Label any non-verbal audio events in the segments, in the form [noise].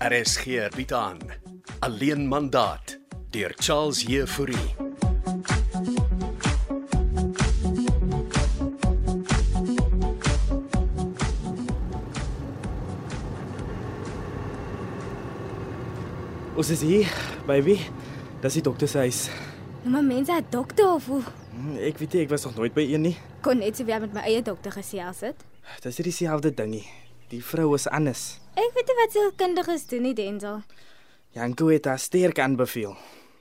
RSG bied aan Alleen mandaat deur Charles Heffouri. Ons is hier, baby. Dis die dokter se huis. Nou maar mense het dokter of hoe Hm, Ek weet nie, ek was nog nooit by een nie. kon net so weer met my eie dokter gesels het. Dis nie dieselfde ding nie. Die vrou is anders. Ek weet nie wat sielkundiges doen nie, Denzel. Janko het haar sterk aanbeveel.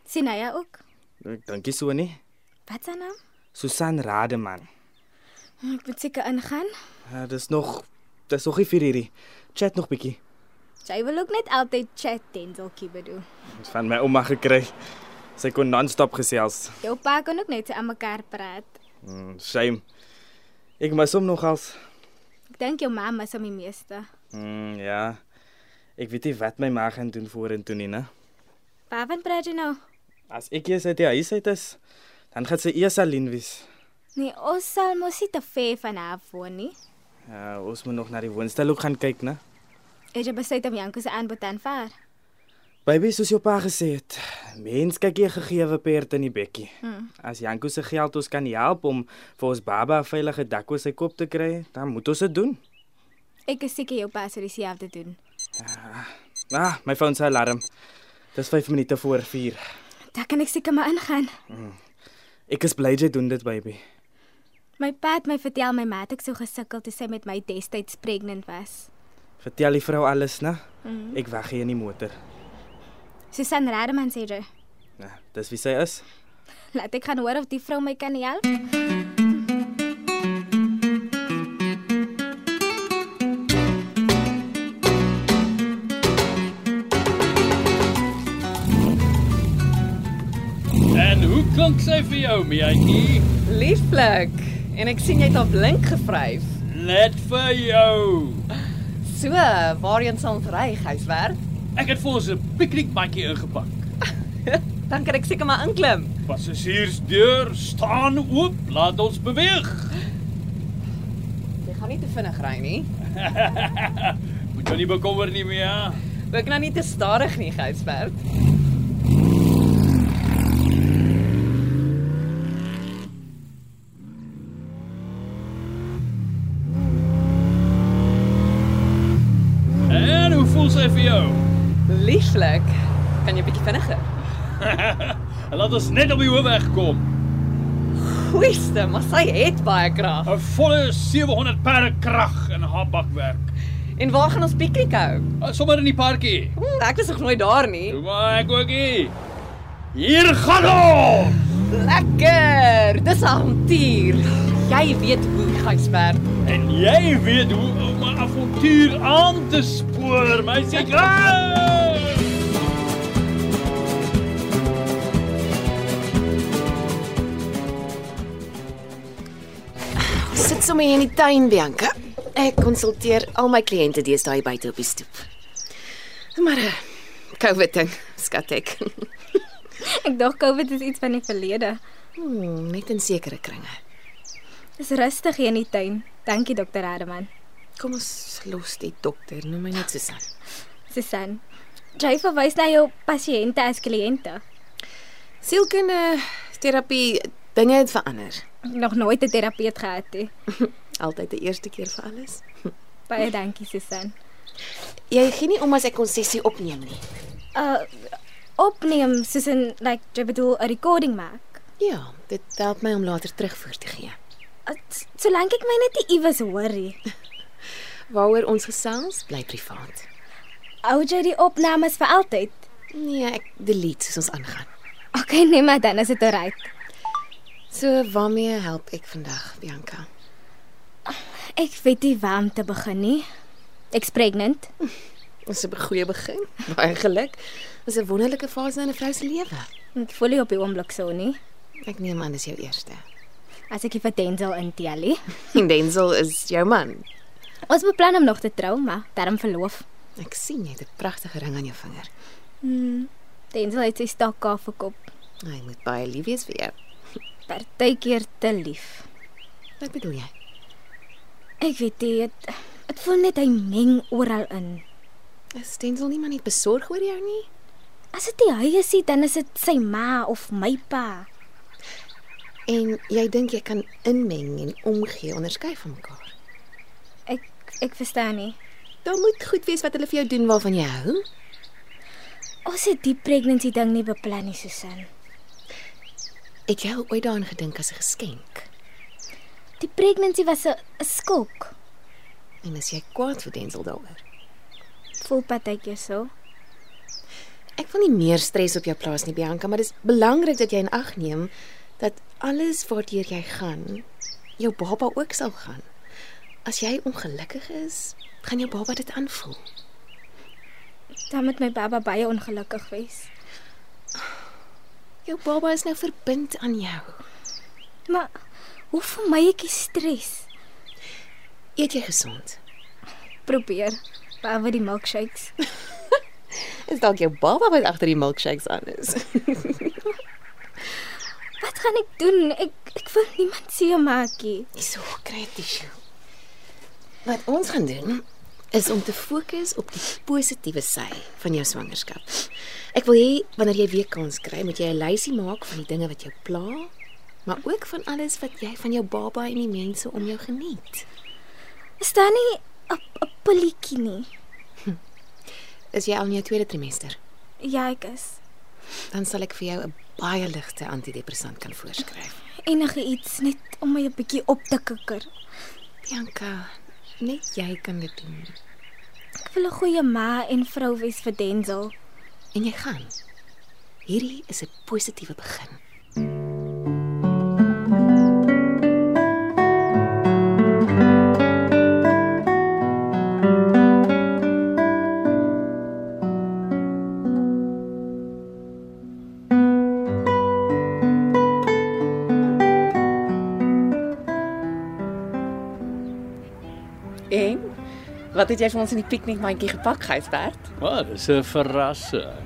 Sien hy jou ook? Ek dink nie so nie. Wat se naam? Susan Rademan. Ek moet seker ingaan. Uh, dis nog dis nog nie vir hierdie. Chat nog bietjie. Jy wil ook net altyd chat, Denzelkie bedoel. Dis van my ouma gekry. Sy kon non-stop gesels. Jou pa kan ook net so aan mekaar praat. Mm, shame. Ek mis hom nogals. Ek dink jou mamma is om die meeste. Mm, ja. Ek weet nie wat my ma gaan doen vorentoe nie, né? Waarvan praat jy nou? As ek eers uit die huis uit is, dan gaan sy eers alleen wees. Nee, ons sal mos nie te ver van haar woon nie. Ja, ons moet nog na die woonstel ook gaan kyk, né? Het jy besluit om Janko se aanbod te aanvaar? Baby, soos jou pa gesê het, mens kyk jy gegeewe perd in die bekkie. Hmm. As Janko se geld ons kan help om vir ons baba 'n veilige dak oor sy kop te kry, dan moet ons dit doen. Ek is seker jou pa sou dieselfde doen. Ah, my foon se alarm. Dis 5 minute voor 4. Dan kan ek seker maar ingaan. Ek is bly jy doen dit, baby. My pa het my vertel my ma het ek so gesukkel toe sy met my destyds pregnant was. Vertel die vrou alles, né? Hmm. Ek wag hier in die motor. Susan Rademan sê jy, Nou, dis wie sy is. laat ek gaan hoor of die vrou my kan help. [laughs] En hoe klink sy vir jou, meetjie? Lieflik. En ek sien jy het op blink gevryf. Net vir jou. So, waarheen sal ons ry, huiswerk? Ek het vir ons 'n piknikmatjie ingepak. Dan kan ek seker maar inklim. Passasiersdeur staan oop, laat ons beweeg. Jy gaan nie te vinnig ry nie. Moet jou nie bekommer nie, Mia. Ook nou nie te stadig nie, huiswerk. En hoe voel sy vir jou? Lieflik. Kan jy bietjie vinniger? Laat ons net op die hoofweg kom. Goeieste, maar sy het baie krag. 'n Volle 700 perde krag in haar bakwerk. En waar gaan ons piknik hou? Ah, Sommer in die parkie. Hm, ek was nog nooit daar nie. Doe maar ek ookie. Hier gaan ons. Lekker. Dis 'n avontuur. Jy weet hoe, huiswerk. En jy weet hoe om 'n avontuur aan te spoor, my seker. Sit sommer hier in die tuin, Bianca. Ek konsulteer al my kliënte deesdae buite op die stoep. Maar eh, COVID ding, skat ek. Ek dink COVID is iets van die verlede. Hmm, net in sekere kringe. Dis rustig hier in die tuin. Dankie dokter Rademan. Kom ons los die dokter, noem my net Susan. [laughs] Susan, jy verwys na jou pasiënte as kliënte. Sielkunde terapie dinge het verander. Ek het nog nooit 'n terapeut gehad nie. Altyd die eerste keer vir alles. Baie dankie Susan. Jy gee nie om as ek konsessie opneem nie. Uh opneem Susan, like jy bedoel 'n recording maak. Ja, dit help my om later terugvoer te gee. Uh, s- Solank ek my net nie iewers hoor nie. Waaroor ons gesels bly privaat. Hou jy die opnames vir altyd? Nee, ek delete soos ons aangaan. Okay, nee maar dan is dit reg. So waarmee help ek vandag, Bianca? Ek weet nie waar om te begin nie. Ek's pregnant. Dis 'n goeie begin. [laughs] Baie geluk. Dis 'n wonderlike fase in 'n vrou se lewe. Ek voel nie op die oomblik so nie. Ek neem aan dis jou eerste. As ek die vir Denzel intel nie. En [laughs] Denzel is jou man. Ons beplan om nog te trou, maar daarom verloof. Ek sien jy het 'n pragtige ring aan jou vinger. Denzel het sy stakka verkoop. Hy moet baie lief wees vir jou. Partykeer te lief. Wat bedoel jy? Ek weet nie, dit dit voel net hy meng oral in. Is Denzel nie maar net besorg oor jou nie? As dit nie hy is nie, dan is dit sy ma of my pa. En jy dink jy kan inmeng en omgee onderskei van mekaar. Ek ek verstaan nie. Daar moet goed wees wat hulle vir jou doen waarvan jy hou. Ons het die pregnancy ding nie beplan nie, Susan. Het jy ooit daaraan gedink as 'n geskenk? Die pregnancy was 'n 'n skok. En as jy kwaad vir Denzel daaroor. Voel partykeer so. Ek wil nie meer stres op jou plaas nie, Bianca, maar dit is belangrik dat jy in ag neem dat alles waartoe jy gaan, jou baba ook sal gaan. As jy ongelukkig is, gaan jou baba dit aanvoel. Dan moet my baba baie ongelukkig wees. Jou baba is nou verbind aan jou. Maar hoe vermy ek die stres? Eet jy gesond? Probeer. Behalwe die milkshakes. [laughs] Is dalk jou baba wat agter die milkshakes aan [laughs] is? Wat gaan ek doen? Ek ek wil niemand seer maak nie. Hyso krities. Wat ons gaan doen is om te fokus op die positiewe sy van jou swangerskap. Ek wil hê wanneer jy weer kans kry, moet jy 'n lysie maak van die dinge wat jou pla, maar ook van alles wat jy van jou baba en die mense om jou geniet. Is daar nie 'n 'n pilletjie nie? Is jy al in jou tweede trimester? Ja, ek is. Dan sal ek vir jou 'n baie ligte antidepressant kan voorskryf. Enige iets net om my 'n bietjie op te kikker. Bianca, net jy kan dit doen. Ek wil 'n goeie ma en vrou wees vir Denzel. En jy gaan. Hierdie is 'n positiewe begin. En wat het jy vir ons in die piknikmandjie gepak, Gysbert? Maar dis 'n verrassing.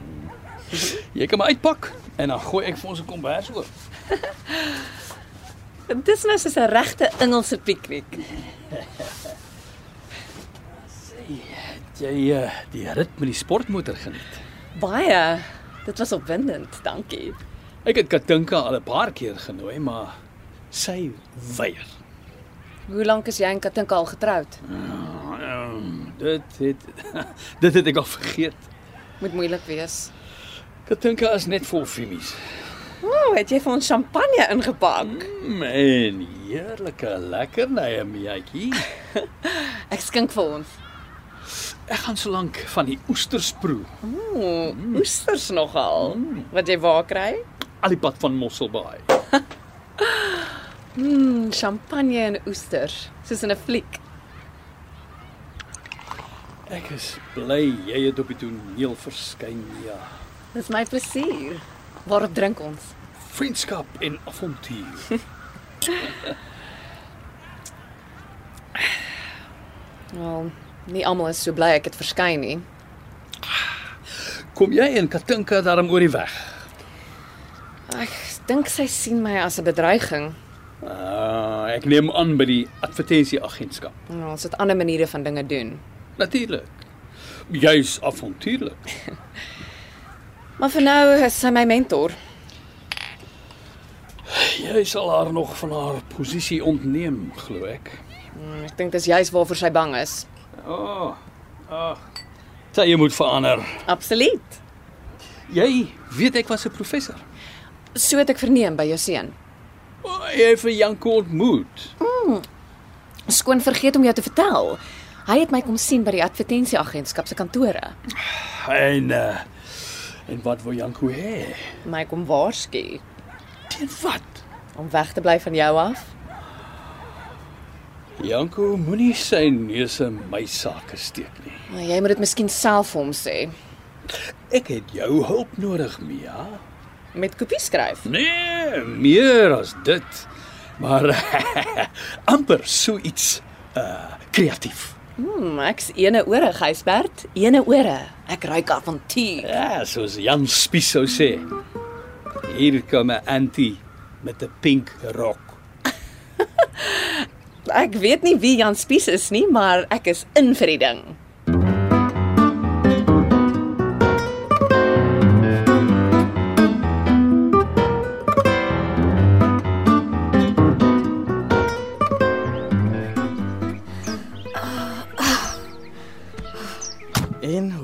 Jy kan my uitpak en dan gooi ek vir ons 'n kombers oop. Dis nou soos 'n regte Engelse piknik. Jy eh, die rit met die sportmotor geniet. Baie. Dit was opwindend, dankie. Ek het Katinka al 'n paar keer genooi, maar sy weier. Hoe lank is jy en Katinka al getroud? Ehm, Dit het [laughs] dit het ek al vergeet. Moet moeilik wees. Katinka is net vol femies. O, oh, het jy vir ons champagne ingepak? Man, heerlike lekkernye, Mietjie. Ek skink vir ons. Ek gaan so lank van die oesters proe, O, oh, oesters nogal. Wat jy waar kry? al die pad van Mosselbaai. Mm, champagne en oesters, soos in 'n fliek. Ek is bly jy het op die toneel verskyn, ja. Dis my plesier. Waarop drink ons? Vriendskap en [laughs] avontuur. Wel, nie almal is so bly ek het verskyn nie. Kom jy en Katinka daarom oor die weg? Ek dink sy sien my as 'n bedreiging. Ah, ek neem aan by die advertensieagentskap. En Nou, ons het ander maniere van dinge doen. Natuurlik. Jy's avontuurlik. Maar vir nou is sy my mentor. Jy sal haar nog van haar posisie ontneem, glo ek. Mm, Ek dink dis juis waarvoor sy bang is. O. Oh, ag. Sy jy moet verander. Absoluut. Jy weet ek was 'n professor. So het ek verneem by jou seun. O, Jy het vir Janko ontmoet. Skoon vergeet om jou te vertel. Hy het my kom sien by die advertensieagentskap se kantore. En uh, en wat wou Janko hê? My kom waarsku Teen wat? om weg te bly van jou af. Janko moenie sy neus in my sake steek nie. Maar jy moet dit miskien self vir hom sê. Ek het jou hulp nodig, Mia. Met kopie skryf. Nee, meer as dit. Maar [laughs] amper so iets uh kreatief. Hmm, ek's ene ore, Gysbert, ene ore. Ek ruik avontuur. Ja, soos Jan Spies sou sê. Hier kom 'n antie met 'n pink rok. Ek weet nie wie Jan Spies is nie, maar ek is in vir die ding.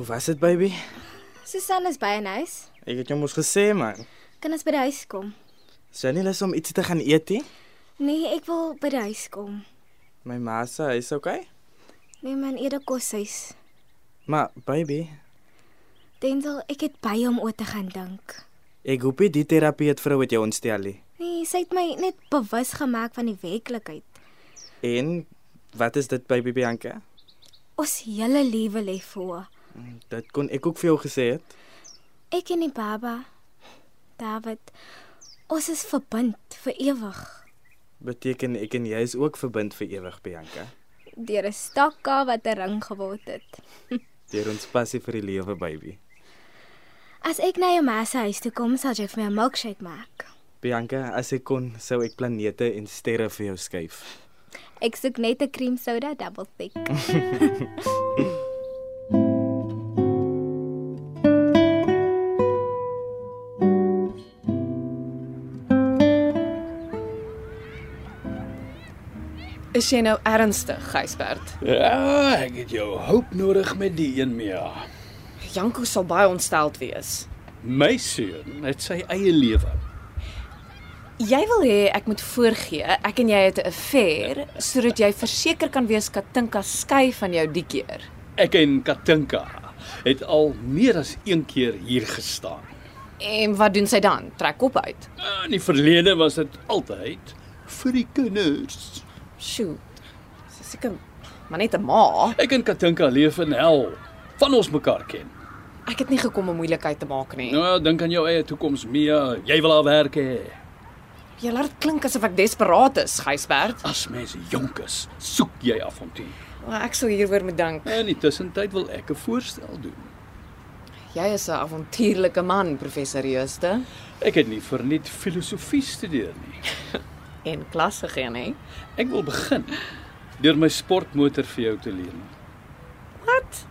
was dit, baby? Susan is by 'n huis. Ek het jou mos gesê, man. Kan ons by die huis kom? Is jy nie lus om ietsie te gaan eet nie? Nee, ek wil by die huis kom. My ma se huis, okay? Nee man, eerder koshuis. Maar baby, Denzel, ek het baie om oor te gaan dink. ek hoop nie die terapeut vrou het jou ontstel nie. Nee, sy het my net bewus gemaak van die werklikheid. En wat is dit, baby Bianca? Ons hele lewe lê voor. Dit kon ek ook vir jou gesê het. Ek en die baba David, ons is verbind vir ewig Beteken ek en jy is ook verbind vir ewig, Bianca. deur 'n stakka wat 'n ring geword het. Deur ons passie vir die lewe, baby. As ek na jou ma se huis toe kom, sal jy vir my 'n milkshake maak. Bianca, as ek kon, sou ek planete en sterre vir jou skuif. Ek soek net 'n cream soda double thick. Is jy nou ernstig, Gysbert? Ja, ek het jou hulp nodig met die een meer. Janko sal baie ontsteld wees. My seun het sy eie lewe. Jy wil hê ek moet voorgee ek en jy het 'n affair sodat jy verseker kan wees Katinka skei van jou die keer. Ek en Katinka het al meer as een keer hier gestaan. En wat doen sy dan? Trek op uit. In die verlede was dit altyd vir die kinders. Sjoe. Sy is seker maar net 'n ma. Ek en Katinka leef in hel van ons mekaar ken. Ek het nie gekom om moeilikheid te maak nie. Nou, dink aan jou eie toekoms, Mia. Jy wil haar werk hê. Jy laat dit klink asof ek desperaat is, Gysbert. As mens jonk is, soek jy avontuur. Maar ek sal hieroor moet dink. En in die tussentyd wil ek 'n voorstel doen. Jy is 'n avontuurlike man, professor Jooste, Ek het nie verniet filosofie studeer nie. en klasse gee, hè? Ek wil begin deur my sportmotor vir jou te leen. Wat?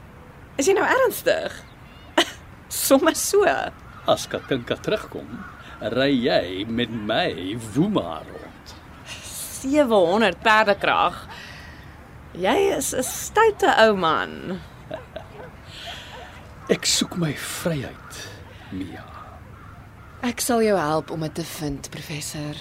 Is jy nou ernstig? [laughs] Sommige so. As Katinka terugkom, ry jy met my Woema rond. 700 perdekrag. Jy is 'n stoute ou man. Ek soek my vryheid, Mia. Ek sal jou help om dit te vind, professor.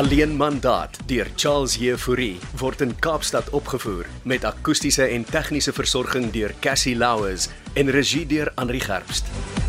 Alleen mandaat deur Charles Jefouri word in Kaapstad opgevoer met akoestiese en tegniese versorging deur Cassie Louws en regie deur Henri Gerst.